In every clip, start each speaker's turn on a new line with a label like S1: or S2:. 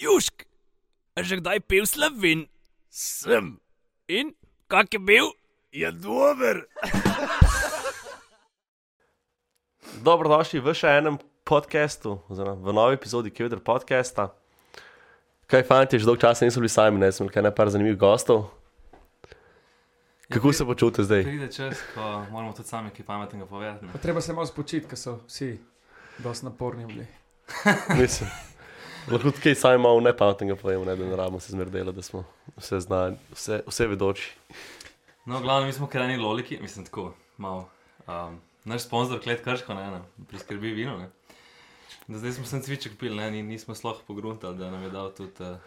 S1: Južk, a že kdaj pil slovin?
S2: Sem,
S1: In kak je bil?
S2: je dober.
S3: Dobrodošli v še enem podkastu, oziroma v novi epizodi Kevdr podcasta. Kaj fanti, že dolgo časa nismo bili sami, ne smo imeli kar nekaj zanimivih gostov. Kako se počutite zdaj?
S4: Pride čas, ko moramo tudi sami kaj pametnega povedati. ne.
S5: Treba se malo spočiti, ker so vsi dosti naporni bili.
S3: Mislim, lahko tudi kaj sami malo nepametnega povemo, ne, da ne rabimo se zmerdelo, da smo vse znali, vse, vse vedoči.
S4: No, glavno, mi smo krajni loliki, mislim tako, malo. Um, naš sponzor, klet Krško, ne, ne, priskrbi vino. Ne. Do zdaj smo sem cviček pil, ne, ni- nismo sloh pogruntali, da nam je dal tudi, uh,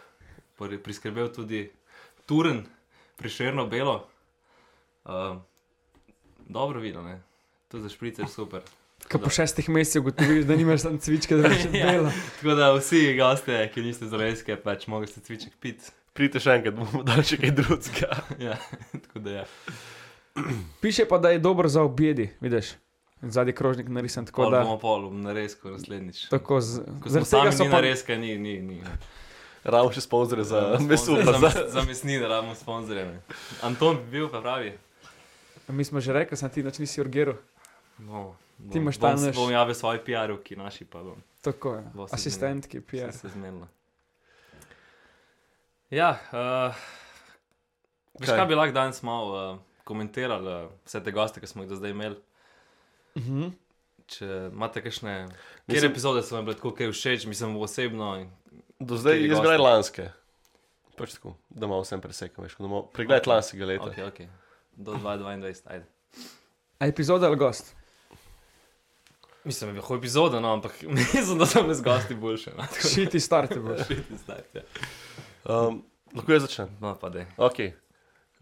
S4: pri- priskrbel tudi turen, priširno belo. Um, dobro vino, ne. tudi za špricer super.
S5: Ko po šestih mesecih ugotoviš, da nimaš tam cvičke, da bi še
S4: Ja.
S5: dela.
S4: Tako da vsi gosti, ki niste zalenske, pač mogli ste cviček piti.
S3: Pridite še enkrat, bomo dali še kaj drugega.
S4: Ja, tako da ja.
S5: Piše pa, da je dober za objedi, vidiš. Zadnji krožnik narisan tako,
S4: Pol
S5: da.
S4: bomo pol, na resku naslednjič.
S5: Tako z,
S4: Ko smo sami ni
S5: zaradi tega so
S4: pa...
S5: pa
S4: res, kaj ni, ni, ni.
S3: Ravno še sponzorje za meso,
S4: Sponzorje
S3: pa za
S4: mes- za mesnine, rabimo sponzorje. ne. Anton bi bil, pa pravi.
S5: Mi smo že rekli, da ti nič nisi urgiral.
S4: No, bom,
S5: Ti imaš ta
S4: bom,
S5: naš-
S4: Bom javil svoje PR-u, ki naši pa bom.
S5: Tako je.
S4: Bo se
S5: Asistent, ki pije.
S4: Se zmenila. Ja, uh, veš
S3: Kaj?
S4: kaj bi lahko danes malo uh, komentirali, uh, vse te goste, ki smo jih do zdaj imeli.
S5: Mhm.
S4: Če imate kakšne... Kjer
S3: Mislim-
S4: epizode so vam bile tako kaj všeč, mislim osebno in
S3: Do zdaj
S4: Kateri
S3: je zbraj
S4: gosti?
S3: lanske. Pač tako, da malo vsem presekam, veš, ko da malo pregled lanskega leta.
S4: ok, ok. Do 2022, ajde.
S5: A epizoda ali gost?
S4: Mislim, da je lahko epizoda, no, ampak mislim, da sem z gosti boljše. No, tako da-
S5: Šiti starte boš.
S4: Šiti start, ja.
S3: Um, lahko jaz začnem.
S4: No, pa da.
S3: Okay.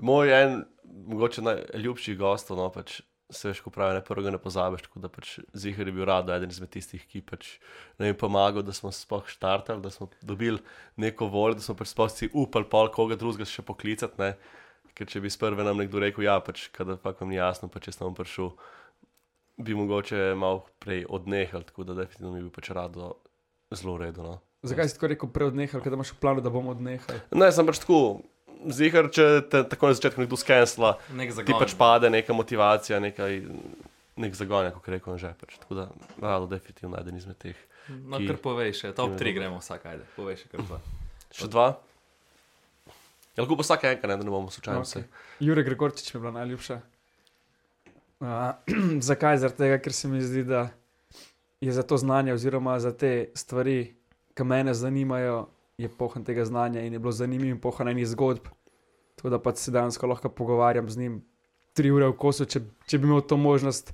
S3: Moj en, mogoče najljubši gostov, no pač se veš, ko pravi, ne prvega ne pozabiš, tako da pač Zihar je bil rado eden izmed tistih, ki pač nam je pomagal, da smo sploh štartali, da smo dobili neko voljo, da smo pač sploh si upali pol koga drugega še poklicati, ne. Ker če bi sprve nam nekdo rekel, ja, pač, kada pa vam ni jasno, pač pa če sem vam prišel, bi mogoče malo prej odnehal, tako da definitivno mi bi pač rado zelo no. redno.
S5: Zakaj si tako rekel, preodnehal, ker da imaš v planu, da bomo odnehali?
S3: Ne, sem pač tako. Zihar, če te tako na začetku nekdo skensla,
S4: Nek zagon.
S3: ti pač pade neka motivacija, nekaj, nek zagon, kako rekel že. Pač. Tako da, rado, definitivno najden izmed teh.
S4: No,
S3: ki-
S4: kar povej še, top
S3: ki-
S4: 3 gremo vsak, ajde, povej še kar pa.
S3: Še dva? Ja, lahko bo vsak enka, ne, da ne bomo slučajno
S5: Okej.
S3: okay.
S5: Jure Gregorčič mi je bila najljubša. Uh, zakaj? Zaradi tega, ker se mi zdi, da je za to znanje, oziroma za te stvari, ki me zanimajo, je pohan tega znanja in je bilo zanimivo in pohan enih zgodb. Tako da pač se danes lahko pogovarjam z njim tri ure v kosu, če, če bi imel to možnost,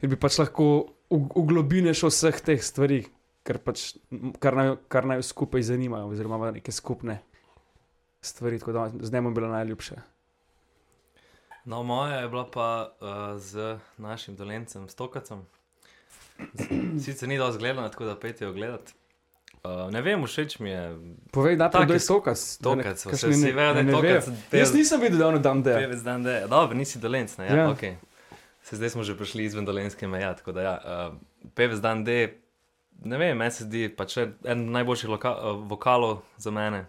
S5: ker bi pač lahko v, v globine šel vseh teh stvari, kar, pač, m, kar, naj, kar naj skupaj zanimajo, oziroma imajo neke skupne stvari. Tako da z njim je bila najljubša.
S4: No, moja je bila pa uh, z našim dolencem Stokacom. Z- Sicer ni dosti gledano, tako da pejte jo gledati. Uh, ne vem, všeč mi je.
S5: Povej, da
S4: Taki
S5: je Ja, to
S4: s-
S5: stokac.
S4: Tokac, vse vsi vejo, da je Tokac del-
S5: Jaz nisem videl, da je on tam
S4: Ja.
S5: del.
S4: Pevec dan, da je. Dobro, nisi dolenc, ne? Ja,
S5: Ja.
S4: ja. ok. Se zdaj smo že prišli izven dolenske meje, tako da ja. Uh, pevec dan, da je, ne vem, meni se zdi pač en- en najboljših loka, uh, vokalov za mene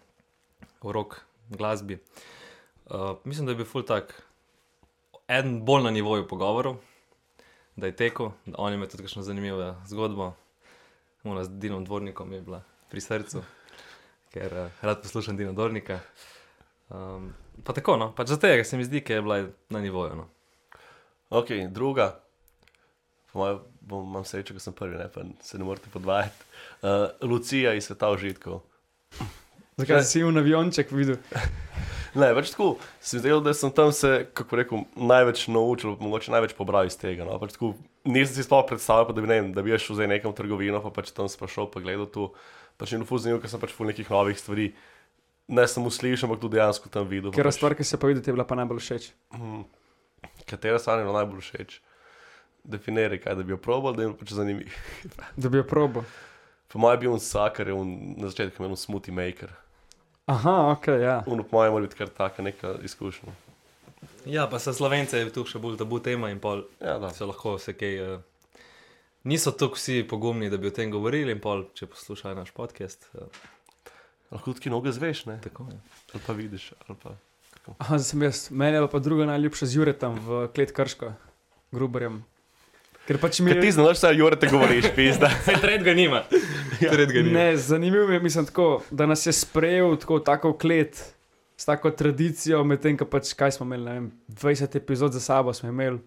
S4: v rock glasbi. Uh, mislim, da je bil full tak, en bolj na nivoju pogovorov, da je tekel, da on je imel tudi kakšno zanimivo zgodbo, ona z Dinom Dvornikom je bila pri srcu, ker uh, rad poslušam Dina Dvornika. Um, pa tako, no, pač zato je, ker se mi zdi, da je bila na nivoju. No.
S3: Ok, druga. Po mojem, bom, imam srečo, ker sem prvi, ne, pa se ne morete podvajati. Uh, Lucija iz sveta užitkov.
S5: Zakaj si v avionček videl?
S3: Ne, več tako, se mi zdelo, da sem tam se, kako rekel, največ naučil, mogoče največ pobral iz tega. No? Pač tako, nisem si sploh predstavljal, pa da bi, ne, vem, da bi jaz šel zdaj nekam v trgovino, pa pač tam sprašal, pa gledal tu. Pač mi je fuz zanimivo, ker sem pač ful nekih novih stvari, ne samo slišal, ampak tudi dejansko tam videl. pa
S5: Ker
S3: pač,
S5: stvar, ki se je pa videl, ti je bila pa najbolj všeč.
S3: Katera stvar je bila najbolj všeč? Definiraj, kaj da bi jo probal, da je pač zanimivo.
S5: Da bi jo probo.
S3: Po mojem je bil on sakar, on, na začetku je bil smoothie maker.
S5: Aha, ok, ja.
S3: On po mojem mora biti kar taka neka izkušnja.
S4: Ja, pa za slovence je tu še bolj tabu tema in pol
S3: Ja, da.
S4: se lahko vse kaj. Uh, eh, niso tako vsi pogumni, da bi o tem govorili in pol, če poslušajo naš podcast. Uh,
S3: Lahko tudi noge zveš, ne?
S4: Tako je.
S3: ali pa vidiš. Ali pa...
S5: Aha, zdaj sem jaz, meni je pa druga najljubša z Juretom v klet Krško, grubarjem. Ker pač mi
S3: Ker ti znaš, da Jure te govoriš, pizda.
S4: Saj tretjega nima. ja. Tretjega nima.
S5: Ne, zanimivo mi je, mislim, tako, da nas je sprejel tako, tako klet, s tako tradicijo, medtem ko pač kaj smo imeli, ne vem, 20 epizod za sabo smo imeli,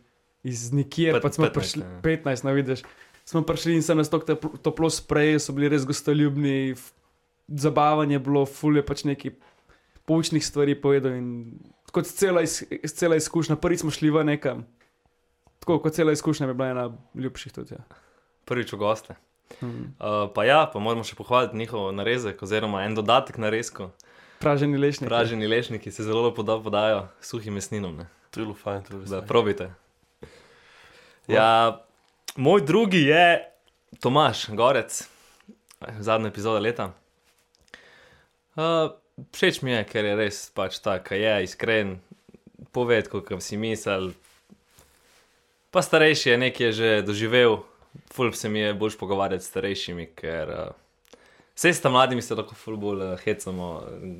S5: iz nikjer,
S4: Pet-
S5: pa smo
S4: 15,
S5: 15, prišli,
S4: ja.
S5: 15, ne vidiš. Smo prišli in so nas tako tepl- toplo sprejeli, so bili res gostoljubni, f- zabavanje je bilo, ful je pač neki poučnih stvari povedal. In kot cela, iz, cela izkušnja, prvič smo šli v nekam. Tako kot cela izkušnja mi je bila ena ljubših tudi. Ja.
S4: Prvič v goste.
S5: Mm.
S4: Uh, pa ja, pa moramo še pohvaliti njihov narezek, oziroma en dodatek na resko.
S5: Praženi ja. lešniki.
S4: Praženi lešniki se zelo lepo da podajo s suhim mesninom. Ne?
S3: To je bilo fajn, to je bilo
S4: Da, probite. Ja, moj drugi je Tomaš Gorec, zadnja epizoda leta. Uh, všeč mi je, ker je res pač tako, je iskren, poved, kot si mislil. Pa starejši je nekaj že doživel, fulp se mi je boljš pogovarjati s starejšimi, ker uh, vse sta mladimi se lahko fulp bolj uh, hecamo,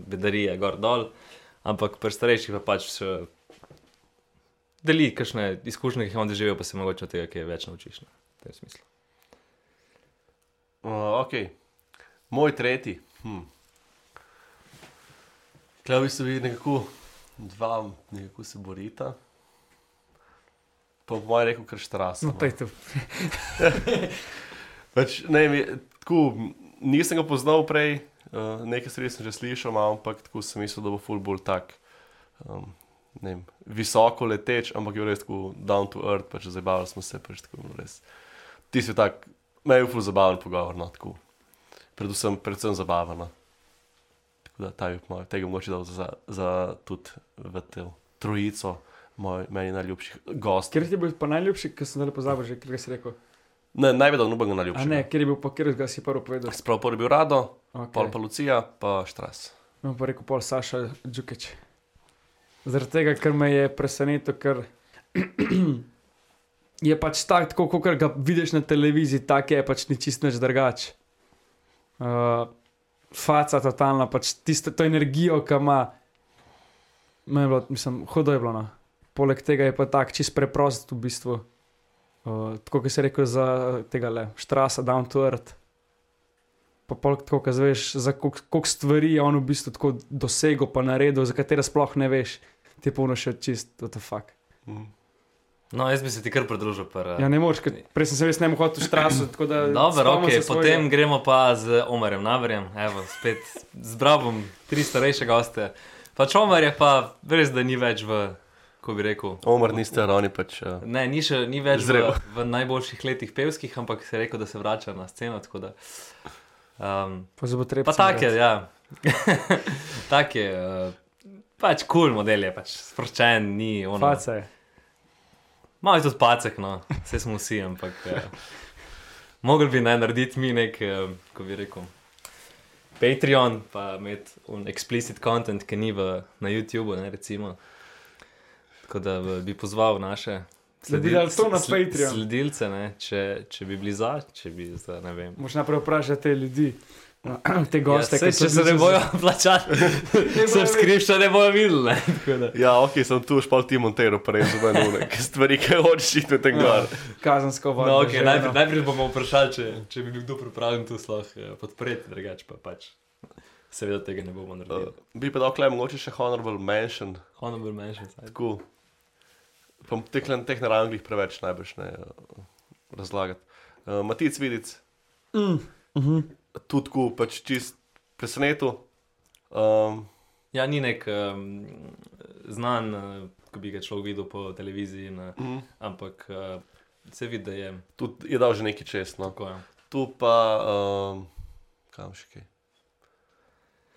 S4: bedarije gor dol, ampak pri starejših pa pač. Uh, deli kakšne izkušnje, ki jih on doživel, pa se mogoče od tega, ki je več naučiš. Ne? v tem smislu.
S3: Uh, ok, moj tretji. Hm. Klavi so bili nekako dva, nekako se borita. Pa po mojem rekel, kar štrasno.
S5: No, to je to.
S3: Pač, ne, vem, je- tako, m, nisem ga poznal prej, uh, nekaj stvari sem že slišal, malo, ampak tako sem mislil, da bo fullball tak. Um, ne vem, visoko leteč, ampak je bil res tako down to earth, pač zabavali smo se. Pač, tako, bilo res. Ti si tak, me je full zabaven pogovor, no, tako. Predvsem, predvsem zabaven. No. Tako da ta bi po mojem- tega mogoče dal za, za tudi v to trojico moj, meni najljubših gostov.
S5: Ker ti je bil pa najljubši, ker sem zdaj pozabil, že ker si rekel.
S3: Ne, največ nobenega
S5: A
S3: najljubšega.
S5: ne, ker je bil pa, ker ga si prvo povedal.
S3: Sprav prvi bil Rado,
S5: Okay.
S3: Pol pa Lucija, pa Štras.
S5: No, pa rekel pol Saša Džukič. Zaradi tega, ker me je presenetilo, ker je pač tak, tako kot ga vidiš na televiziji, tak je pač ni čist nič drugač. Uh, faca totalna, pač tisto to energijo, ki ima. me je Bilo, mislim, hudo je bilo. No. Poleg tega je pa tak čist preprost v bistvu. Uh, tako kot se reče za tega le, štrasa, down to earth pa polk tako, kaj veš, za koliko stvari je on v bistvu tako dosegel, pa naredil, za katere sploh ne veš, ti je polno še čist, what the fuck.
S4: No, jaz bi se ti kar pridružil. Pr,
S5: Ja, ne moreš, ker prej sem se res ne mogel hoditi v štrasu, tako da...
S4: Dobro,
S5: spomnim
S4: okay,
S5: se svojega.
S4: potem gremo pa z Omarjem Navarjem, evo, spet zbrabom tri starejše goste. Pač Omar je pa res, da ni več v, ko bi rekel.
S3: Omar niste ravni pač. Uh,
S4: Ne, ni, še, ni več v,
S3: Zrel.
S4: v najboljših letih pevskih, ampak se je rekel, da se vrača na sceno. tako Da, um,
S5: Pa zobotrebno.
S4: pa tak je, ja. tak je. Uh, pač kul cool model je, pač sproščen, ni ono.
S5: Faca je.
S4: Malo je tudi pacek, no, vse smo vsi, ampak. Eh, Mogli bi naj narediti mi nek, eh, ko bi rekel, Patreon, pa imeti un explicit content, ki ni v, na YouTubu, ne recimo. Tako da eh, bi pozval naše.
S5: Sledilce
S4: sledil-
S5: na
S4: sl-
S5: Patreon.
S4: Sledilce, ne, če, če bi bili za, če bi za, ne vem.
S5: Moš najprej vprašati te ljudi, no, te goste,
S4: ja, saj, če se ne bojo plačali, subskripcija ne bojo videli. Ne? tako da.
S3: ja, ok, sem tu už pol ti monteral, prej za meni neke stvari, ki hočeš iti tam gor.
S5: Kazansko vojno.
S4: No, okay, najprej, najprej bomo vprašali, če, če bi bil kdo pripravljen to sploh eh, podpreti, drugače pa pač. Seveda tega ne bomo
S3: Uh,
S4: naredili.
S3: bi pa dal klej mogoče še honorable mention.
S4: Honorable mention. saj.
S3: Tako. Pa teklen teh naravnih preveč najbrž ne uh, razlagati. Uh, Matic vidic,
S5: Mm, mhm.
S3: tudi tako pač čist presenetil. Um,
S4: Ja, ni nek um, znan, uh, ki bi ga človek videl po televiziji, na,
S3: mm,
S4: ampak uh, se vidi, da je
S3: tudi je dal že nekaj čest. No.
S4: tako. Ja.
S3: Tu pa, um, kam še kaj.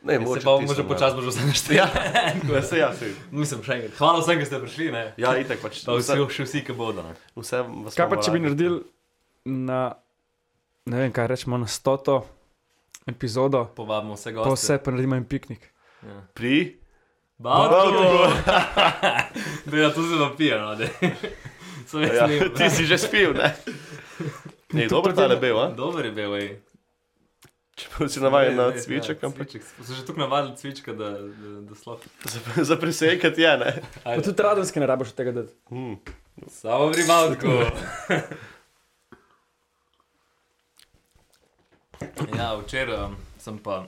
S3: Ne,
S4: Se
S3: mogoče
S4: pa
S3: tisto,
S4: bomo že
S3: ne.
S4: počasi že našteje. Ja.
S3: Ja, se ja, se.
S4: Mislim, še enkrat. Hvala vsem, ki ste prišli. Ne?
S3: Ja, itak pač.
S4: Pa vsi,
S3: vse-
S4: še vsi, ki bodo. Ne?
S3: Vse vas
S5: Kaj pa
S3: bomo
S5: če bi
S3: radi.
S5: naredili na, ne vem kaj rečemo, na stoto epizodo,
S4: Povabimo vse
S5: pa
S4: goste.
S5: vse pa naredimo en piknik.
S4: Ja.
S3: Pri? Ja,
S4: Balto! da, ja, to zelo pije, no, da. Sem jaz
S3: Ja,
S4: ja, snimil.
S3: ti si že spil, ne? Ne, dobro ta ne bil, a?
S4: Dober je bil, ej.
S3: Čeprav si navaden na
S4: Ne, ne,
S3: cviček,
S4: ja,
S3: ampak
S4: cviček. So že tukaj navadili cvička, da, da, da slab.
S3: za- za presekati je, ne.
S5: Pa tudi radenske ne rabiš od tega dati.
S3: Hmm.
S4: Samo pri Valtku. ja, včeraj um, sem pa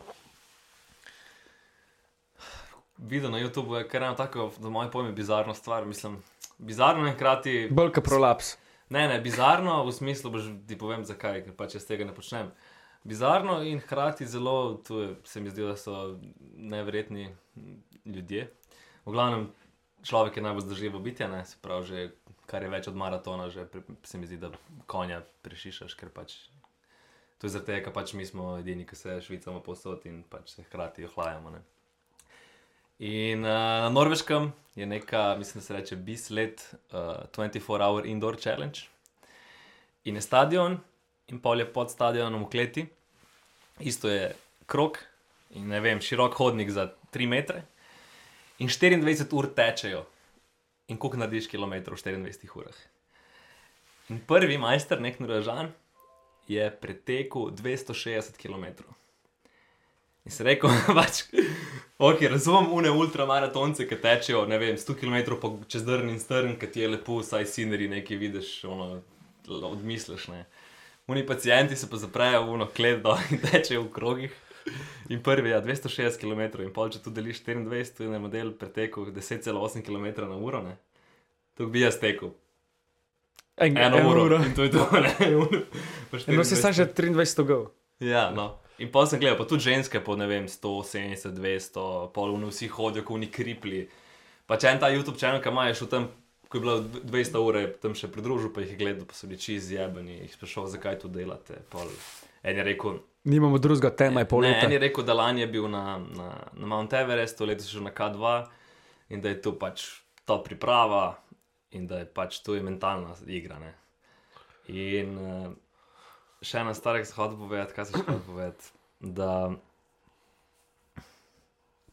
S4: videl na YouTubu je kar ena tako, za moje pojme, bizarna stvar. Mislim, bizarno in hkrati.
S5: Bolj kot prolaps.
S4: Ne, ne, bizarno, v smislu, boš, ti povem zakaj, ker pač jaz tega ne počnem. Bizarno in hkrati zelo, tu je, se mi zdi, da so neverjetni ljudje. V glavnem, človek je najbolj zdržljivo bitje, ne, se pravi, že kar je več od maratona, že pri, se mi zdi, da konja prešišaš, ker pač. To je zaradi tega, ker pač mi smo edini, ki se švicamo posod in pač se hkrati ohlajamo. Ne. In uh, na norveškem je neka, mislim, da se reče Bislet uh, 24-hour indoor challenge. In je stadion, in pol je pod stadionom v kleti, isto je krok in ne vem, širok hodnik za 3 metre. In 24 ur tečejo. In koliko narediš kilometrov v 24 urah. In prvi majster, nek Norvežan, je pretekel 260 km. In si rekel, pač, ok, razumem une ultramaratonce, ki tečejo, ne vem, 100 km po, čez drn in strn, ki ti je lepo, saj sineri nekaj vidiš, ono, l- odmisliš. Ne. Uni pacijenti se pa zaprejo v uno kledo in tečejo v krogih. In prvi, ja, 260 km in pol, če tu deliš 24, je na model pretekel 10,8 km na uro, ne. Tu bi jaz tekel,
S5: En,
S4: eno uro. E, no, In to je to, ne.
S5: Eno si sam še 23 gov.
S4: Ja, no. In pa sem gledal, pa tudi ženske po ne vem, 170, 200, polno vsi hodijo, kot oni kripli. Pa če en ta YouTube kanal, ki imaš v tem, ko je bilo dv- 200 ur, je tam še pridružil, pa jih je gledal, pa so bili čez zjebani, jih sprašoval, zakaj to delate. Pol. En je rekel,
S5: Nimamo drugega tema, je pol
S4: ne, en
S5: leta.
S4: je rekel, da lani je bil na, na, na Mount Everestu, letos je šel na K2 in da je to pač ta priprava in da je pač to je mentalna igra. Ne. In uh, še ena stvar, ki sem hotel povedati, kaj sem še hotel povedati. Da...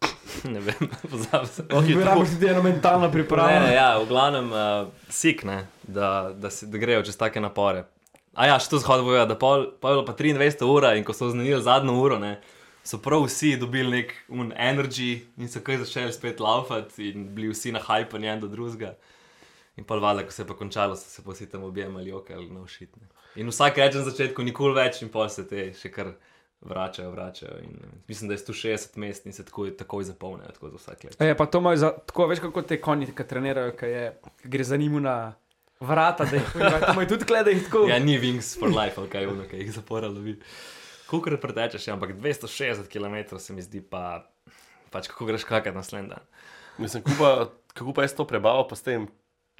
S4: Ne vem, pozabil sem.
S5: Mi rabimo tudi eno mentalno
S4: Ne, ne,
S5: pripravo.
S4: ja, v glavnem uh, sik, ne, da, da, se, da grejo čez take napore. A ja, še to zhodbo je, da pol, pol je bilo pa 23 ura in ko so znanili zadnjo uro, ne, so prav vsi dobili nek un energy in so kaj začeli spet laufati in bili vsi na hype in en do drugega. In pa vada, ko se je pa končalo, so se pa vsi tam objemali, jokali na ušitne. In vsak reče na začetku, nikoli več in pol se te še kar vračajo, vračajo. In, eh, mislim, da je 160 mest in se takoj, takoj zapolnijo, tako za vsak let.
S5: E, pa to imajo za, tako, veš kako te konji, ki trenirajo, ki je, ki gre za njim na vrata, da jih to imajo tudi glede, da jih tako.
S4: Ja, ni Wings for Life, ali kaj ono, ki jih zaporalo vi. Kukor pretečeš, ja, ampak 260 km se mi zdi pa, pač kako greš kakat naslednji dan.
S3: Mislim, Kuba, kako pa jaz to prebavo, pa s tem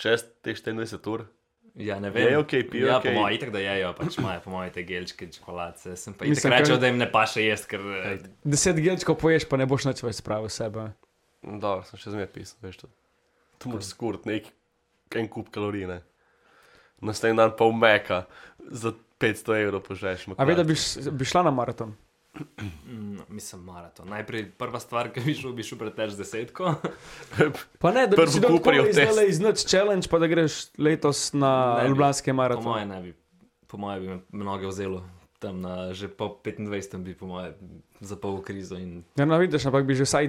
S3: čez teh 24 ur.
S4: Ja, ne vem.
S3: Jejo, kaj pijo,
S4: Ja,
S3: kaj-
S4: po mojem, itak da jejo, pač imajo po mojem te gelčke, čokolade. Sem pa
S5: Mislim,
S4: itak
S5: kaj-
S4: rečel, da jim ne paše jesti, ker... eh,
S5: Deset gelčkov poješ, pa ne boš nič več spravil sebe.
S3: Da, sem še zmeraj pisal, veš to. Tu moraš skurt nek en kup kalorij, ne. Naslednji dan pa umeka za 500 evrov požreš.
S5: A veš, da bi, š- bi šla na maraton.
S4: mm, Mislim, maraton. Najprej prva stvar, ki bi šel, bi šel preteč z desetko.
S5: Pa ne, da bi
S3: Prvo
S5: si dal
S3: Cooperjev test.
S5: tako iz noč challenge, pa da greš letos na
S4: Ne bi.
S5: Ljubljanski
S4: Po
S5: maraton.
S4: mojem ne bi, po mojem bi me mnoge vzelo. Tam na, že po 25 bi, po mojem, zapal v krizo in
S5: Ja, no, vidiš, ampak bi že vsaj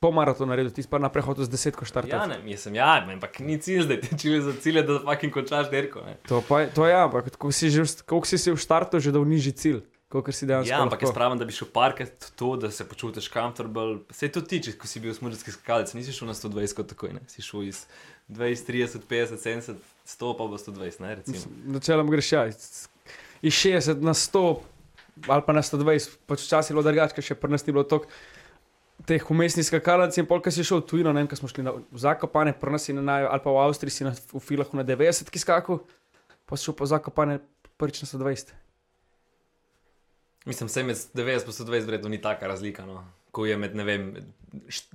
S5: pol maratona naredil, ti si pa na prehodu z desetko
S4: Ja,
S5: štartal.
S4: ne, mislim, ja, ampak ni cilj, da ti čili za cilj, je, da fucking končaš derko. Ne.
S5: To, pa, je- to je, ampak koliko si, že v- koliko si si v štartu že dal nižji cilj, koliko si dejansko.
S4: Ja, ampak
S5: lahko.
S4: jaz pravim, da bi šel parkrat to, da se počutiš comfortable. Se je to tiče, ko si bil smrtski skakalec, nisi šel na 120 kot takoj, ne? si šel iz 20, 30, 50, 70, 100 pa v 120, ne recimo.
S5: Načeloma greš ja, iz iz 60 na 100 ali pa na 120, pač včasih je bilo drugače, ker še pri nas ni bilo toliko teh umestnih skakalnic in polka si šel v tujino, ne vem, kaj smo šli na v Zakopane, pri nas si na naj, ali pa v Avstriji si na, v filah na 90 ki skakal, pa si šel pa v Zakopane prvič na 120.
S4: Mislim, se med 90 in 120 vredno ni taka razlika, no? ko je med, ne vem,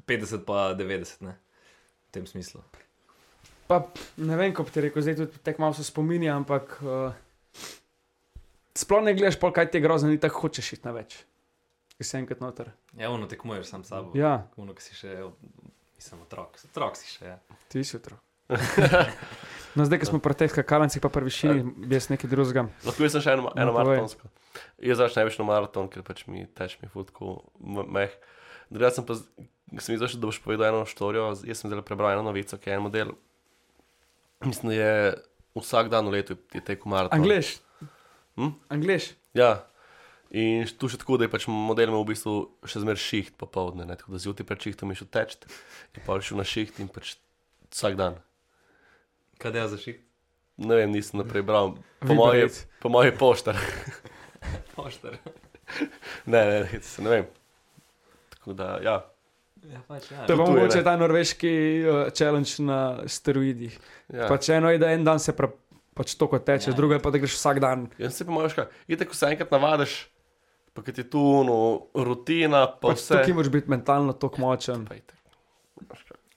S4: 50 pa 90, ne? v tem smislu.
S5: Pa ne vem, kako ti rekel, zdaj tudi tako malo se spominja, ampak uh, sploh ne gledaš, pol, kaj ti je grozno, ni tako hočeš iti na več. Ki si enkrat noter.
S4: Ja, ono tekmuješ sam s sabo.
S5: Ja,
S4: Ono, ki si še, mislim, otrok, otrok si še. Ja.
S5: ti si otrok. No, zdaj, ko smo pri teh skakalancih, pa pri višini, bi jaz nekaj drugega.
S3: Lahko jaz sem še eno,
S5: No,
S3: eno
S5: povej.
S3: maratonsko. Jaz znaš največ na maraton, ker pač mi teč mi futko meh. Drugač sem pa, z- sem izrašil, da boš povedal eno štorijo, z- jaz sem zdaj prebral eno novico, ki je en model. Mislim, da je vsak dan v letu je tekel maraton.
S5: Angliš.
S3: Hm?
S5: Angliš.
S3: Ja. In tu še tako, da je pač model imel v bistvu še zmeraj šiht popovdne, ne? tako da zjutraj pred šihtom je šel teč, in pa šel na šiht in pač vsak dan.
S4: Kaj dela za šik?
S3: Ne vem, nisem naprej bral, po
S5: Viberet.
S3: moje, po moje poštar.
S4: Pošter.
S3: Ne, ne, ne, res, ne vem. Tako da, ja.
S4: Ja, pač, ja.
S5: To je pa
S3: Potuje,
S5: mogoče
S3: ne.
S5: ta norveški uh, challenge na steroidih.
S3: ja.
S5: Pač eno je, da en dan se pra, pač to kot teče,
S4: Ja.
S5: drugo je pa, da greš vsak dan.
S3: Jaz se pa moraš kaj. Idete, ko se enkrat navadiš, pa ki ti tu no, rutina, pa
S5: Pač
S3: vse.
S5: tukaj moraš biti mentalno tako močen.
S3: Pa itak.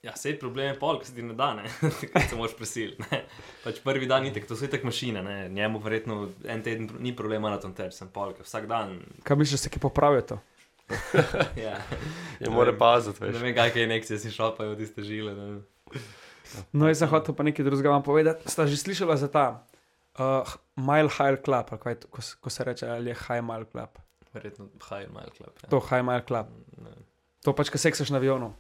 S4: Ja, sej problem je pol, ki se ti ne da, ne, Takrat se moraš prisiliti. ne. Pač prvi dan itek, to so itek mašine, ne, njemu verjetno en teden pro- ni problem maraton teč, sem pol, ker vsak dan,
S5: Kaj misliš, da se ki popravijo to?
S4: ja,
S3: Je mora paziti,
S4: ne
S3: veš.
S4: vem, kakšne injekcije si šlapajo od tiste žile, ne vem.
S5: No, jaz sem hotel pa nekaj drugega vam povedati. Sta že slišala za ta uh, Mile High Club, ali kaj, je to, ko, se- ko se reče, ali je High Mile Club.
S4: verjetno higher mile club. Ja.
S5: To High Mile Club.
S4: Ne vem.
S5: To pač, ko seksaš na avionu.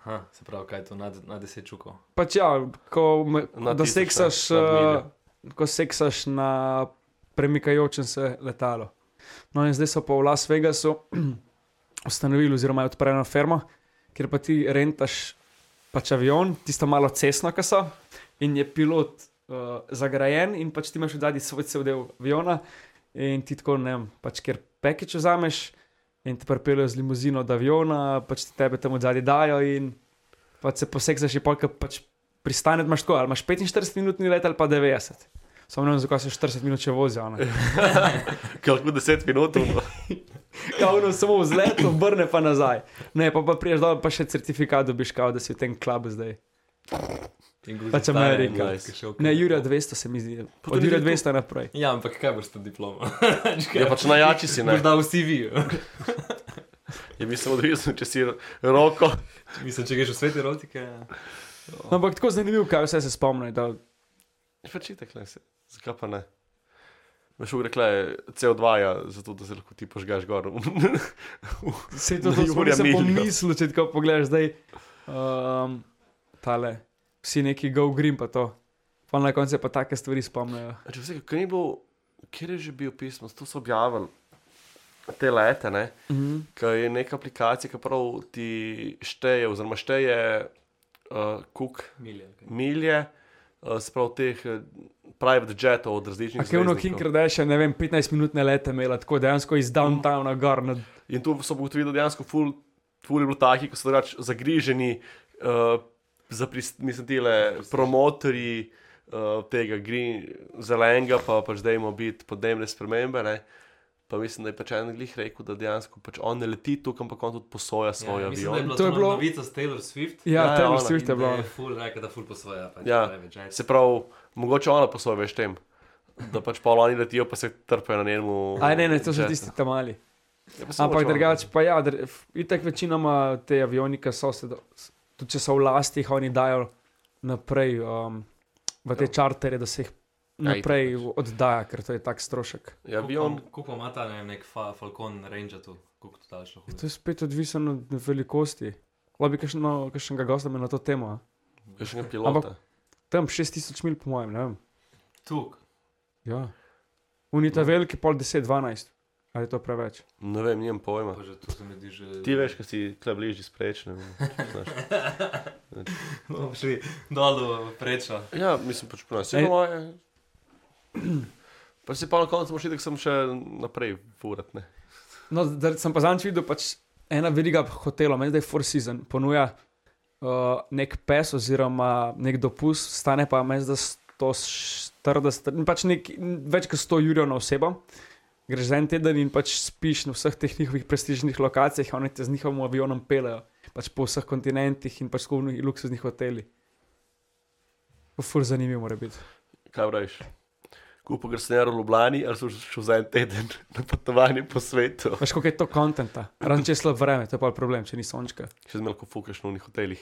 S4: Aha, se pravi, kaj je to nad, nad deset čukov.
S5: Pač ja, ko, me-
S3: Na
S5: da
S3: tisoče,
S5: seksaš,
S3: nad miljo.
S5: eh, ko seksaš na premikajočem se letalo. No, in zdaj so pa v Las Vegasu ustanovili, oziroma je odprli eno fermo, kjer pa ti rentaš pač avion, tisto malo cestno, ki so, in je pilot uh, zagrajen, in pač ti imaš v zadnji svoj cel del aviona, in ti tako ne vem, pač kjer pekič vzameš, in te pripeljejo z limuzino do aviona, pač ti tebe tam v zadnji dajo, in pač se poseksaš, in polka pač pristaneš, imaš tako, ali imaš 45-minutni let ali pa 90. Samo ne vem, zakaj se 40 minut še vozijo. ne.
S3: Kako 10 minut, no.
S5: Kao, no, samo vzlet, obrne pa nazaj. Ne, pa, pa priješ dol, pa še certifikat dobiš, kao, da si v tem klubu zdaj.
S4: In guzi
S5: Pač
S4: stane,
S5: Amerika.
S4: in
S3: Nice.
S4: ki še ok-
S5: Ne, Jurija 200 se mi zdi.
S3: Pa
S5: Od
S3: tudi
S5: Jurija
S3: tu-
S5: 200 naprej.
S4: Ja, ampak kaj boš s to diplomo?
S3: je pač najjači si, ne.
S4: Morda vsi vi.
S3: Je mislim odvisno, če si roko.
S4: Mislim, če greš v svet erotike. ja.
S5: No, ampak tako zanimivo, kaj vse se spomni. Da,
S3: Je pač itak, ne. se- Zakaj pa ne? Veš, rekla je CO2, -ja, zato da se lahko ti požgaš gor.
S5: se to
S3: Na
S5: tudi
S3: Jurija
S5: spomni, sem
S3: Miljo.
S5: pomislil, če tako pogledaš zdaj. Um, tale, vsi neki go green pa to. Pa na koncu se pa take stvari spomnijo.
S3: A Če vse, kaj ni bilo, kjer je že bil pismo, tu so objavili te lete, ne?
S5: Mhm.
S3: Ker je neka aplikacija, ki prav ti šteje, oziroma šteje uh, kuk
S4: Milje. kaj.
S3: milje, uh, sprav teh eh, private jetov od različnih
S5: A kaj vno King
S3: zvezdnikov.
S5: Kardashian, ne vem, 15-minutne lete imela, tako dejansko iz downtowna gor. Na,
S3: In tu so ugotovili, da dejansko ful, ful je bilo takih, ki so drugač zagriženi, uh, za prist, mislim, tile promotorji uh, tega green, zelenega, pa pač da jim biti podnebne spremembe. Ne? Pa mislim, da je pač en glih rekel, da dejansko pač on ne leti tukaj, ampak on tudi posoja svoj
S4: Ja,
S3: ja,
S4: mislim, da je
S3: avion.
S4: bila
S5: To
S4: to
S5: je bilo-
S4: novica s Taylor Swift.
S5: ja,
S3: Ja,
S5: ja,
S3: ja,
S5: Taylor
S3: ona.
S5: Swift je bila.
S4: Je ful rekel, da ful posvoja. Pač,
S3: Ja.
S4: private jet.
S3: Se pravi, mogoče ona posoja veš tem, da pač pa oni letijo, pa se trpijo na njemu.
S5: Aj, ne, ne, to so
S3: jetu.
S5: tisti tam mali.
S3: Ja, pa se
S5: Ampak
S3: mogoče ona.
S5: drugače pa ja, dr- f- itak večinoma te avionike so se, do- s- tudi če so v lastih, oni dajo naprej um, v te čartere, da se jih
S3: Ja, itak
S5: naprej v- oddaja, ker to je tak strošek.
S3: Ja, avion,
S4: Kako ima ta ne vem, nek fa, Falcon Ranger tu, kako to daljšo
S5: To
S3: Ja.
S4: hoditi?
S5: je spet odvisno od velikosti. Lobi kakšno, kakšnega gosta me na to temo. a?
S3: je še nekaj pilota. Ampak,
S5: Tam 6000 mil, po mojem, ne vem.
S4: Tuk.
S5: Ja. Unita veliki, pol 10-12. Ali je to preveč?
S3: ne vem, njem pojma.
S4: Pa že to se mi zdi že.
S3: Ti veš, kaj si kle bližje sprečen.
S4: Bomo šli dol prečo.
S3: Ja, mislim, pač pri nas je
S5: Ej.
S3: moje. Pa si pa na koncu moš videti, da sem še naprej furat. Ne?
S5: No, da sem pa zadnjič videl, pač ena veriga hotelov, meni da je Four Seasons, ponuja uh, nek pes oziroma nek dopust, stane pa meni da 140, pač nek, več kot 100 jurjev na osebo. Greš za en teden in pač spiš na vseh teh njihovih prestižnih lokacijah, a oni te z njihovim avionom pelejo, pač po vseh kontinentih in pač skupno v luksuznih hotelih. To Fur zanimivo mora biti.
S3: Kaj praviš? Kupo grsnero v Ljubljani, ali so šel za en teden na potovanje po svetu.
S5: Veš, koliko je to kontenta, razen če je slab vreme, to je pa problem, če ni sončka.
S3: Še zmeraj, ko fukaš na unih hotelih.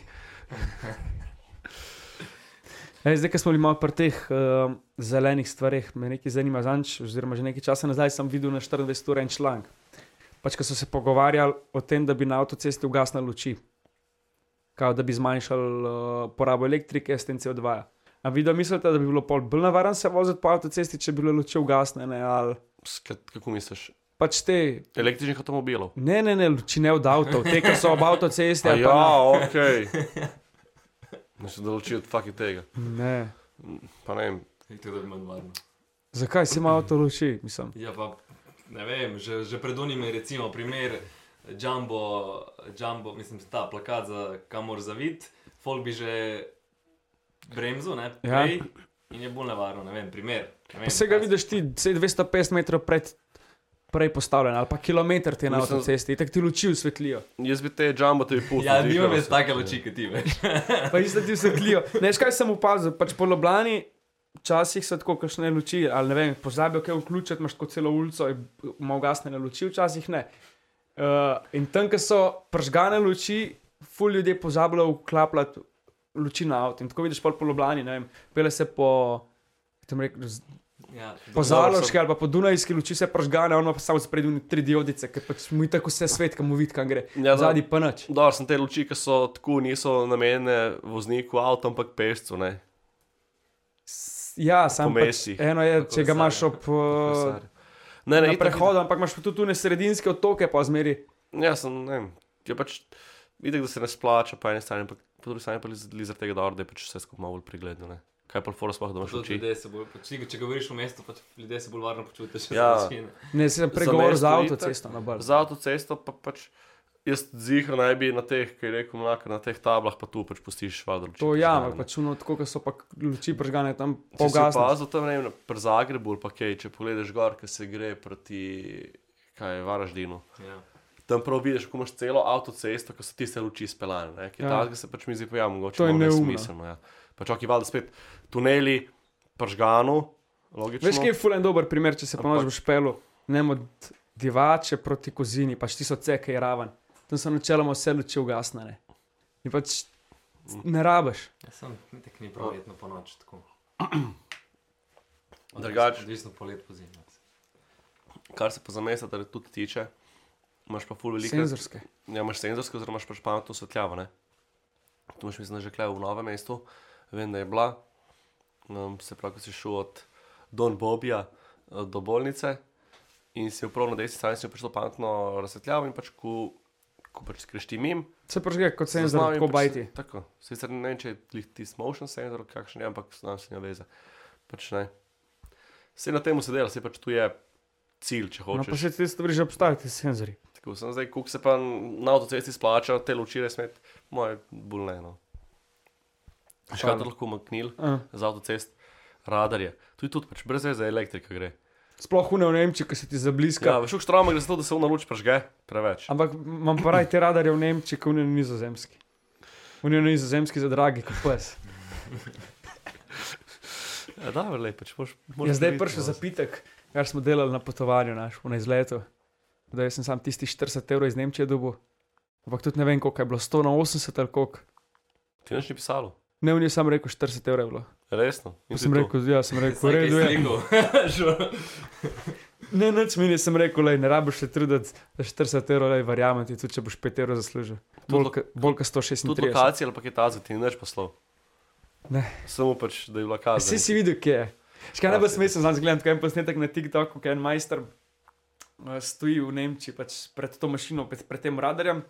S5: Ej, zdaj, ko smo bili malo pri teh uh, zelenih stvareh, me nekaj zanima. Zanč, oziroma, že nekaj časa nazaj sem videl na 24 ur en članek. Pač, ko so se pogovarjali o tem, da bi na avtocesti ugasnili luči, kao da bi zmanjšali uh, porabo elektrike, s tem CO2. -ja. A vi da mislite, da bi bilo pol bolj nevaren se voziti po avtocesti, če bi bile luči ugasnjene? Ali
S3: S kat- Kako misliš?
S5: pač te,
S3: Električnih avtomobilov.
S5: ne, ne, ne, luči ne od avtov, te, ki so ob avtocesti.
S3: Ja,
S5: ali pa na-
S3: ja ok. Ne se določi od fucking tega.
S5: Ne.
S3: Pa ne vem.
S4: Tudi da bi manj varno.
S5: Zakaj si ima avto luči? Mislim.
S4: Ja, pa ne vem, že, že pred unim je recimo primer Jumbo, Jumbo mislim, ta plakat za kamor zavit, folk bi že bremzo, ne,
S5: Ja.
S4: prej, ja. in je bolj nevarno, ne vem, primer. Ne vem,
S5: Pa se ga
S4: kaj se-
S5: vidiš ti saj 250 metrov pred, prej postavljen, ali pa kilometr ti je na
S3: Mislim-
S5: avtocesti, tako ti luči osvetlijo.
S3: Jaz bi te jumbo tebi pustil.
S4: Ja,
S3: nima
S4: nimam več take luči, kot ti veš.
S5: Pa isto ti osvetlijo. Ne, veš, kaj sem opazil, pač po Ljubljani včasih so tako kakšne luči, ali ne vem, pozabijo kaj vključiti, imaš kot celo ulico, je- ima ugasnjene luči, včasih ne. Uh, in tam, ko so pržgane luči, ful ljudje pozabljajo vklapljati luči na avto. In tako vidiš pol po Ljubljani, ne vem, pele se po, kako tem rekel, z-
S4: Ja, dobro,
S5: Po Zaloški ali pa po Dunajski luči se pražgane, ono pa samo sprednji tri diodice, ker pač mu je tako vse svet, kam mu vidi, kam gre.
S3: Ja,
S5: Ja,
S3: da.
S5: Zadnji pa nič.
S3: Dobro, sem te luči, ki so tako niso namenjene vozniku avta, ampak pešcu. Ne?
S5: Ja, sam
S3: Po
S5: pač,
S3: mestih.
S5: eno je,
S4: Tako
S5: če
S4: kolesarja.
S5: ga imaš ob uh,
S3: Ne, ne,
S5: na
S3: itak-
S5: prehodu, ampak imaš pa tudi tu ne sredinske otoke, pa zmeri.
S3: Ja, sem, ne vem. Je pač, videk, da se ne splača, po eni strani, ampak po drugi strani pa li zaradi tega dobro, da je pač vse skupaj malo bolj pregledno. Ne? Kaj pa fora sploh, da imaš
S4: Tudi
S3: oči?
S4: ljudje se bolj, pač, ti, če govoriš v mestu, pač ljudje se bolj varno počutijo. še
S3: Ja.
S4: za luči, ne.
S5: Ne, se sem
S3: Za
S5: pregovoril za
S3: mesto
S5: avtocesto no,
S3: itak.
S5: na bar.
S3: Za avtocesto pa pač. Jaz zihar naj bi na teh, ki je rekel, mlaka, na teh tablah, pa tu pač pustiš vadro.
S5: To ja, ampak pač čuno, tako kot so pa luči pražgane tam
S3: Če si
S5: pogasne.
S3: opazil tam, ne vem, pri Zagrebu ali pa kaj, če pogledaš gor, ki se gre proti, kaj je Varaždinu.
S4: Ja.
S3: Tam prav vidiš, kako imaš celo avtocesto, ki so tiste luči speljane. ne, Kaj
S5: Ja.
S3: ja. takega se pač mi zdi, pojavim, mogoče
S5: To je
S3: malo
S5: neumno.
S3: nesmiselno. Ja. Pa čakaj, valjda spet tuneli, pržganu, logično.
S5: Veš, kaj je fulen dober primer, če se
S3: Ampak-
S5: ponož v špelu, ne vem, od divače proti kozini, pač ti so ceke je raven. Tam so načeloma vse luči ugasnjene. In pač ne rabiš.
S4: Ja, sem tek ni prav letno po noč tako. Odvisno-
S3: Drugače-
S4: Odvisno polet po zimi.
S3: Kar se pa za mesta torej tudi tiče, imaš pa ful veliko.
S5: Senzorske.
S3: Ja, imaš senzorske, oziroma imaš pač pametno osvetljavo. ne. Tu imaš, mislim, da že kaj v novem mestu, vem, da je bila. Um, se pravi, ko si šel od Don Bobija eh, do bolnice in si upravno na desni strani si prišel pametno razsvetljavo in pač, ko, ko pač skrišti mim,
S5: Se pražge kot
S3: zaznal
S5: senzor,
S3: in
S5: tako
S3: pač
S5: bajti.
S3: se- Tako, sicer ne vem, če je glih tisti motion sensor, ali kakšen je, ampak znam se ne veze. Pač ne. Vse na tem se dela, se pač tu je cilj, če
S5: No,
S3: hočeš.
S5: pa še te stvari že obstajajo, ti senzori.
S3: Tako sem zdaj, koliko se pa na avtocesti splača, te luči res med, moje bulneno. Še kaj
S5: Hvala.
S3: te lahko umaknil
S5: Uh.
S3: z avtocest, radar je. Tu je tudi pač brez veze elektrika gre.
S5: Sploh une v Nemčiji, ki se ti
S3: Ja,
S5: zabliska.
S3: veš, kakšno traumo gre za to, da se ona luč prežge, preveč.
S5: Ampak imam pa raj te radarje v Nemčiji, kot v nizozemski. V nizozemski za dragi, kot pes.
S3: Ja, da, verlej, pač moš.
S5: Je zdaj
S3: no.
S5: prišel zapitek, kar smo delali na potovanju naš, v izletu. Da jaz sem sam tisti 40 evrov iz Nemčije dobil. Ampak tudi ne vem, koliko je bilo, 100 na 80 ali koliko.
S3: Ti nič ni pisalo,
S5: Ne, on je sam rekel 40 evrov. je bilo.
S3: resno.
S5: Pa sem rekel, ja, sem rekel, v redu je.
S4: je.
S5: Ne, nič mi nisem rekel, lej, ne rabiš se truditi, da 40 evrov, lej, verjamem ti, tudi če boš 5 evrov zaslužil. Bolj
S3: lo-
S5: ka- bolj kot
S3: Tudi
S5: 136.
S3: lokacija ali pa kaj tazi, ti ni nič poslov.
S5: Ne.
S3: Samo pač, da je bila kazen.
S5: Vsi si videl, kje je. Še kaj najbolj
S3: Ja,
S5: smešno, znam gledati, kaj je posnetek na TikToku, kaj en majster eh, stoji v Nemčiji pač pred to mašino, pred, pred tem radarjem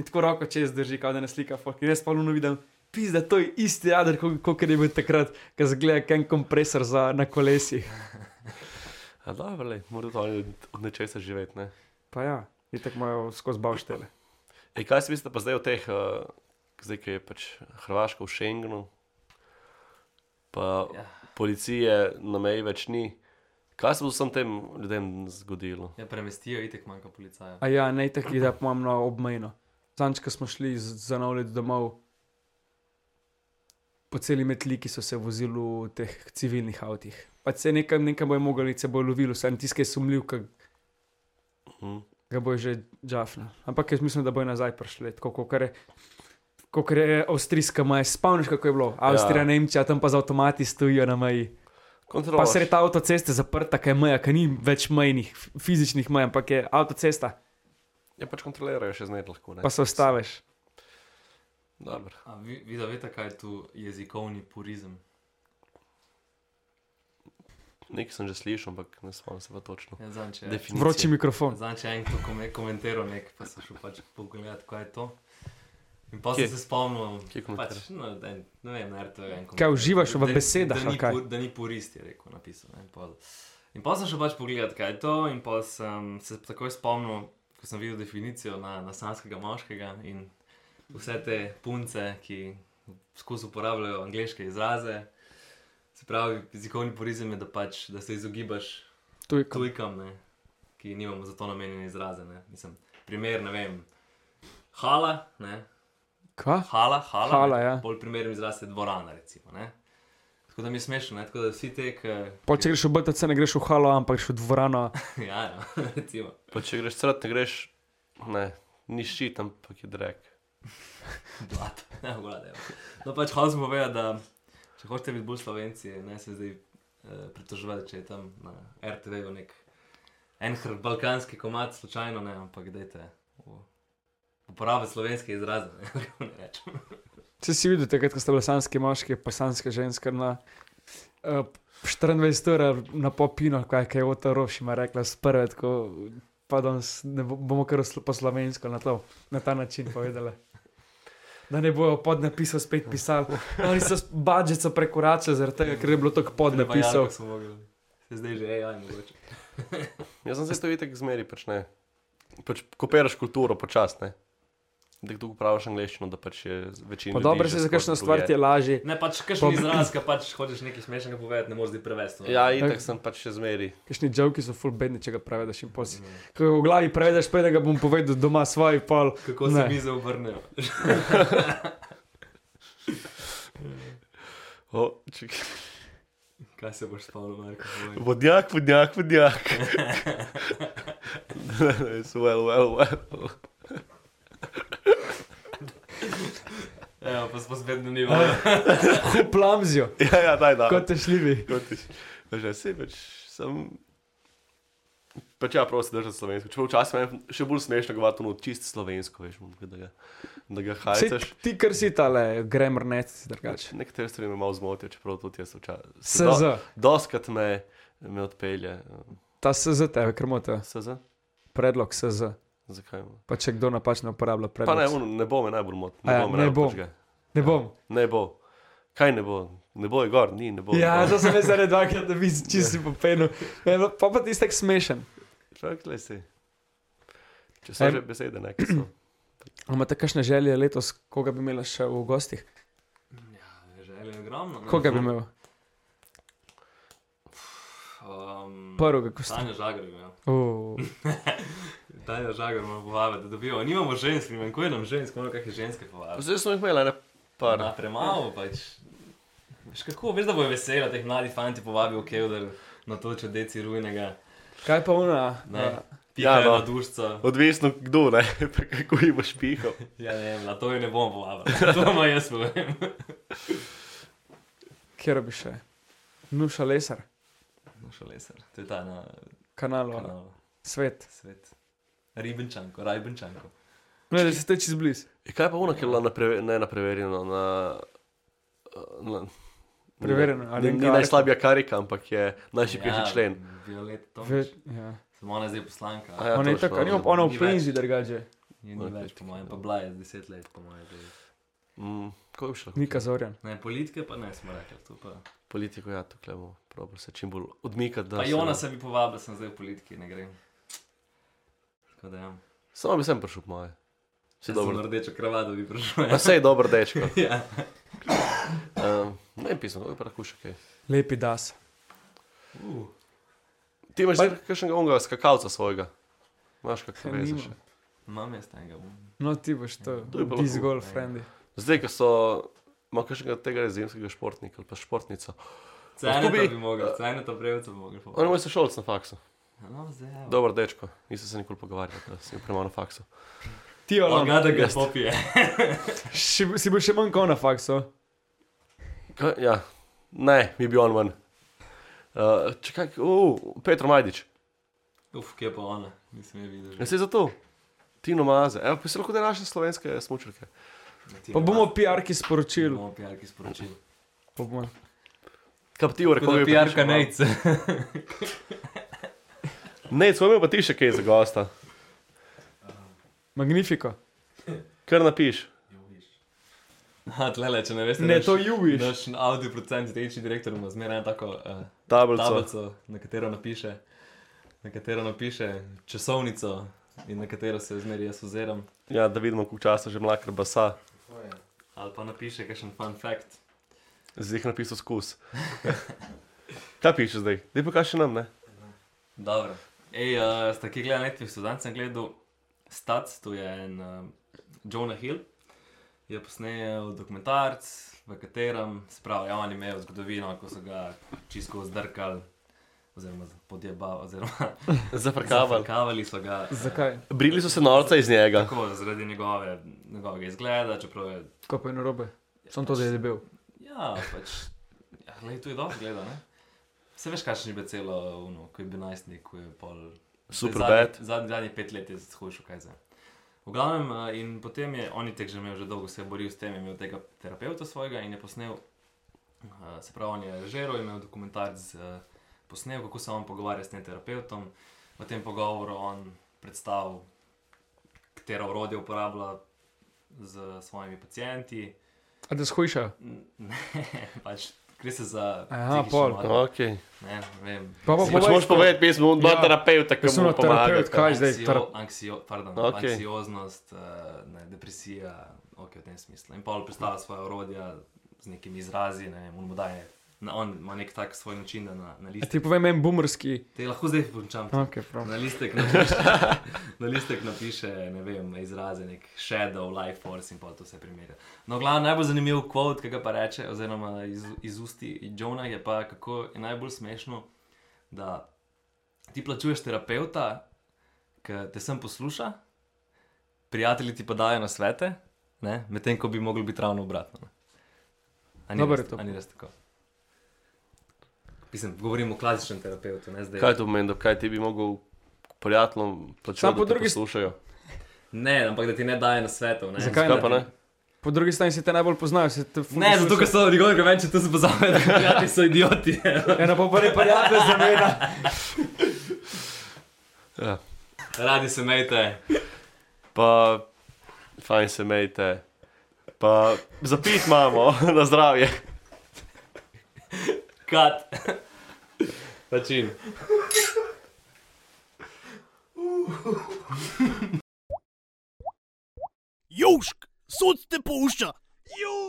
S5: in tako roko čez drži, kao da ne slika folk. In jaz pa luno vidim, pis, da to je isti radar, kot je bil takrat, ko zgleda kaj en kompresor za, na kolesih.
S3: Ja, da, verlej, mora to oni od- od nečesa živeti, ne.
S5: Pa ja, in tako imajo skozi bavštele.
S3: E, kaj si mislite pa zdaj o teh, uh, zdaj, ki je pač Hrvaška v Schengenu, pa ja.
S4: Ja.
S3: policije na meji več ni. Kaj se bo vsem tem ljudem zgodilo?
S4: Ja, premestijo itek manjka policaja.
S5: A ja, ne tako, da pomem na obmejno. Zanč, ko smo šli z- za nov let domov, po celi metliki so se vozili v teh civilnih avtih. Pa se nekam, nekam bojo mogli, se bojo lovili, vsem tiskaj sumljiv, ki
S3: Hm?
S5: ga bojo že džafna. Ampak jaz mislim, da bojo nazaj prišli, tako kot je. kot je avstrijska meja, spomniš, kako je bilo. Avstrija, ja.
S3: Ja.
S5: Nemčija, tam pa z avtomati stojijo na meji. Pa
S3: Kontrola.
S5: se je ta avtocesta zaprta, kaj je meja, kaj ni več mejnih, f- fizičnih mej, ampak je avtocesta,
S3: Ja, pač kontrolirajo še zmed lahko. Ne?
S5: pa se ostaviš.
S3: Dobro.
S4: A vi, vi da veste, kaj je tu jezikovni purizem?
S3: Nekaj sem že slišal, ampak ne spomnim se pa točno.
S4: Ja, zanče,
S3: Definicije.
S5: Vroči mikrofon.
S4: Znači, en to kom komentiral, nek pa sem šel pač pogledati, kaj je to. In pa
S3: Kje?
S4: sem se spomnil,
S3: Kje komentar?
S4: pač, no, da, en- ne vem, na RTV. en komentar.
S5: Kaj, uživaš v
S4: Da ni-
S5: besedah
S4: Da,
S5: ali
S4: ni
S5: kaj?
S4: pur- da ni purist, je rekel, napisal. Ne, pol. In pa sem šel pač pogledat, kaj je to, in pa sem se takoj spomnil, ko sem videl definicijo na, na sanskega moškega in vse te punce, ki skozi uporabljajo angliške izraze. Se pravi, jezikovni purizem je, da, pač, da se izogibaš
S5: Tujka.
S4: tujkam, ne, ki nimamo za to namenjene izraze. Ne. Mislim, primer, ne vem, hala, ne,
S5: Kaj?
S4: hala, hala,
S5: Hala,
S4: ne,
S5: ja.
S4: bolj primeren izraz je dvorana. Recimo, ne. tako da mi je smešno, ne, tako da vsi eh, te, ki.
S5: Pol, če greš v BTC, ne greš v halo, ampak greš v dvorano.
S4: ja, ja, recimo.
S3: Pa če greš crat, ne greš, ne, ni ščit, ampak je drek.
S4: Blat, ne, vlade. No, pač hočem povedati, da če hočete biti bolj slovenci, ne se zdaj eh, pritoževati, če je tam na RTV-ju nek en hr- balkanski komat, slučajno ne, ampak dajte. Uporabljati slovenske izraze, ne, kako ne rečem.
S5: Če si videl, takrat, ko sta bila sanski moški, pa sanska ženska na uh, 24 ur na popino, kaj kaj je Ota Rošima rekla sprve, tako pa danes ne bo- bomo kar sl- po slovensko na, to, na ta način povedali. Da ne bojo podnapisov spet pisali. Oni so s- budžet so prekoračili, zaradi tega, ker je bilo toliko podnapisov.
S4: Prevajalko smo mogli. Se zdaj že AI mogoče.
S3: Jaz sem se to vitek zmeri, pač ne. Pač kopiraš kulturo počasne. Da kdo praviš angliščino, da pač je večina.
S5: Pa dobro se za kakšno stvar ti je lažje.
S4: Ne, pač
S5: Pa-
S4: kakšen izraz, ki pač hočeš nekaj smešnega povedati, ne moreš zdaj prevesti. no.
S3: Ja, itek sem pač še zmeri.
S5: Kakšni žoki so full bedni, če ga prevedeš in posi. Ko ga v glavi prevedeš, pa ga bom povedal doma svoj pol.
S4: Kako se
S5: Ne.
S4: mi zaobrnejo.
S3: O, čekaj.
S4: Kaj se boš spomnil, Marko? povej.
S3: Vodnjak, vodnjak, vodnjak. It's well, well, well.
S4: Evo, Ja, pa smo spet na nivo.
S5: Eh. Huplamzijo,
S3: Ja, ja, daj, daj.
S5: kot te šljivi.
S3: Kot ti. Že se pač sem. Pač ja, prosim, držati slovensko. Čeprav včasih meni še bolj smešno govoriti ono čist slovensko, veš, ampak da ga, da ga
S5: Saj
S3: hajtaš.
S5: Ti, pač. kar si tale, gremr ne si drugače.
S3: Nekatere stvari me malo zmotijo, čeprav tudi jaz včasih.
S5: SZ,
S3: Doskrat me, me odpelje. eh,
S5: ta SZ tebe krmota,
S3: SZ?
S5: predlog SZ.
S3: Zakaj? mu?
S5: Pa če kdo napačno uporablja
S3: Pa
S5: predlog.
S3: ne, ono, ne bo me najbolj motil.
S5: A ja,
S3: me najbolj
S5: ne
S3: pač
S5: bo.
S3: podžge.
S5: ne bom.
S3: Ne bo. Kaj ne bo? Ne bo je gor, ni, ne bo.
S5: Ja,
S3: ne bo.
S5: to sem jaz zaradi dvakrat, da bi čisti popenu. no, Pa pa ti stek smešen.
S3: Čakaj, si. Če so že
S5: Em.
S3: besede, ne, ki so.
S5: A Imate kakšne želje letos, koga bi imela še v gostih?
S4: Ja, želje je ogromno. ne.
S5: Koga bi imel?
S4: Um,
S5: Prvega gosta.
S4: Tanja Žagar ima.
S5: Uh,
S4: Tanja Žagar ima povabiti, da dobijo. Nimamo žensk, ne vem, ko je nam žensk, ono kakšne ženske povabiti.
S3: Zdaj smo jih imeli, ne, par.
S4: Na premalo pač. Veš kako, veš, da bojo vesela, da jih mladi fanti povabijo v Kevdar na to čudeci ruinega.
S5: Kaj pa ona?
S4: Ne.
S3: Ja,
S4: Pika ja,
S3: no.
S4: na dušca.
S3: Odvisno kdo, ne, pa kako jih boš pihal.
S4: Ja, ne vem, na to je ne bom povabil. To ima jaz povem.
S5: Kjer bi še? Nuša Lesar,
S4: No, šalesar. To je ta na
S5: kanal
S4: kanalu.
S5: Svet.
S4: Svet. Ribenčanko, rajbenčanko.
S5: Ne, da si teči zblizu.
S3: Je E, kaj pa unak je bila na preve, ne na preverjeno, na... na
S5: Preverjeno, ali
S3: ali ni,
S5: je
S3: ni
S5: kar-
S3: najslabija karika, ampak je najšipkejši ja. člen.
S4: Violet Tomč.
S5: Ja.
S4: Samo ona je zdaj poslanka.
S3: A ja,
S5: Ona je
S3: točno.
S5: tako, a nima- ona
S4: Ni
S5: v
S4: več.
S5: penzi drugače.
S4: Ni ni
S3: Ok,
S4: več, po mojem, pa bila je 10 let, po mojem. zdaj.
S3: Mm, ko je šlo?
S5: Nika Zorjan.
S4: Ne, politike pa ne smo rekli. to Pa,
S3: Politiko, ja, tukaj bomo probali se čim bolj odmikati. da
S4: pa
S3: se-
S4: Jona se bi povabil, sem zdaj v politiki, ne grem. Tako da ja.
S3: Samo bi sem prišel po moje. Vse
S4: Če sem
S3: dobro.
S4: rdečo kravato bi prišel.
S3: Pa
S4: Ja.
S3: vse je dobro, dečko.
S4: ja.
S3: Um, ne pisem, kako je pa kušek.
S5: Lepi das.
S4: Uh,
S3: Ti imaš
S5: Pa-
S3: pa... kakšnega onega skakalca svojega. Imaš kakšne
S5: Ja,
S3: veze
S5: nimam.
S3: še.
S4: Imam jaz tega.
S5: No, ti boš to,
S3: To je pa
S5: ti
S3: lahko.
S5: zgolj, frendi.
S3: Zdaj, ko so... Ima kakšnega tega zimskega športnika ali pa športnico.
S4: Cene
S3: bi-
S4: bi, bi mogel, cene to prevce bi
S3: On
S4: mogel.
S3: je
S4: povabiti.
S3: moj sošolc na faksu.
S4: No, zdaj. evo.
S3: Dober dečko, nisem se nikoli pogovarjal, da sem bil premalo na faksu.
S5: Ti jo lahko.
S4: Odgada ga popije.
S5: Si si bil še manj kot na faksu.
S3: Ka, ja, ne, mi bi on ven. Uh, čakaj, uh, Petro Majdič, Ja,
S4: Uf, kje pa ona, nisem je videl.
S3: ne se zato. Tino Maze, evo, pa se lahko da naše slovenske smočerke.
S5: Pa
S4: Ja.
S5: bomo Ja. PR-ki sporočili.
S4: Bomo PR-ki sporočili.
S5: Pa bomo-
S3: Kaptivo,
S4: Tako da
S3: rekel bi.
S5: no.
S4: PR-ka nejce.
S3: Ne, smo imeli pa ti še kaj za gosta.
S5: Magnifiko.
S3: Kar napiš.
S4: Ha, tlele, če ne veste.
S5: Ne,
S4: naš-
S5: to ljubiš.
S4: Naš audio producent, tehnični direktor ima zmeraj eno tako uh,
S3: Tablico.
S4: tablico, na katero napiše, na katero napiše časovnico in na katero se zmeraj jaz oziram.
S3: Ja, da vidimo, koliko časa že mlaka basa.
S4: Ali pa napiše kakšen fun fact.
S3: Zdaj jih napisal skus. Kaj piše zdaj? Dej pa kaj še nam, ne?
S4: Dobro. Ej, uh, sta ki gledala Netflix, dan sem gledal Stats, to je en uh, Jonah Hill, je posnel dokumentarc, v katerem ja, spravi javni mejo zgodovino, ko so ga čisto zdrkali, oziroma podjebali, oziroma
S3: Zafrkaval.
S4: zakavali so ga. eh,
S5: Zakaj?
S3: Brili so se norca iz njega.
S4: Tako, zaradi njegove, njegovega izgleda, čeprav je.
S5: Ko pa je narobe. Sem to zdaj debel.
S4: Ja, pač. Ja, glej, to je dobro gledano, ne? Se veš, kakšen je bil celo, uno, ko je bil najstnik, ko je pol.
S3: Super
S4: zadnji-
S3: bad.
S4: Zadnji, zadnji pet let je zhujšal, kaj zdaj. V glavnem, eh, in potem je on tek že imel, že dolgo se je boril s tem, je imel tega terapeuta svojega in je posnel, eh, se pravi, on je režiral, imel dokumentarc, z, eh, posnel, kako se on pogovarja s tem terapeutom. V tem pogovoru on predstavil, katero orodje uporablja z svojimi pacijenti.
S5: A da shujša.
S4: N- Ne, pač gre se za.
S5: Aha,
S4: psihično
S5: pol.
S4: motnjo,
S3: Ok.
S4: Ne, ne vem.
S5: Pa pa
S3: Pač moraš povedati, mi smo dva
S5: Ja.
S3: terapeuta, ki
S5: Jaz sem
S3: smo
S5: na terapeut,
S3: pomagali.
S5: kaj zdaj?
S4: Anksio-
S5: Ter-
S4: anksio- pardon,
S3: Ok.
S4: Anksioznost, eh, ne, depresija, ok, v tem smislu. In Paul predstavlja svoje orodja z nekimi izrazi, ne vem, on mu daje. Na, on ima nek tak svoj način, da na, na
S5: A
S4: listek.
S5: Ti povem en boomerski.
S4: Te lahko zdaj končam.
S5: Ok, prav.
S4: Na listek napiše, na listek napiše ne vem, izraze nek shadow, life force in pa to se primerja. No, glavno najbolj zanimiv kvot, ki ga pa reče, oziroma iz, iz usti Johna, je pa kako je najbolj smešno, da ti plačuješ terapeuta, ki te sem posluša, prijatelji ti pa dajo na svete, ne, medtem ko bi mogli biti ravno obratno. ne. A ni
S5: Dobro
S4: res-
S5: je to.
S4: a ni res tako. Mislim, govorimo o klasičnem terapeutu, ne zdaj.
S3: Kaj to pomeni, da kaj ti bi mogel prijateljem plačati,
S5: Samo po
S3: da te
S5: drugi s-
S3: poslušajo?
S4: Ne, ampak da ti ne daje na svetu. Ne?
S5: Zakaj
S3: Kaj pa ne?
S5: Po drugi strani si te najbolj poznajo. si te ful
S4: Ne, zato
S5: poslušajo.
S4: ker so njegovi komenči, to se pa zame, da prijatelji so idioti.
S5: Ena Ja, no, pa prvi prijatelj za mene.
S3: Ja.
S4: Radi se mejte.
S3: Pa fajn se mejte. Pa zapit imamo na zdravje.
S4: Kat. Način.
S1: Južk, sunce te pušča. Južk.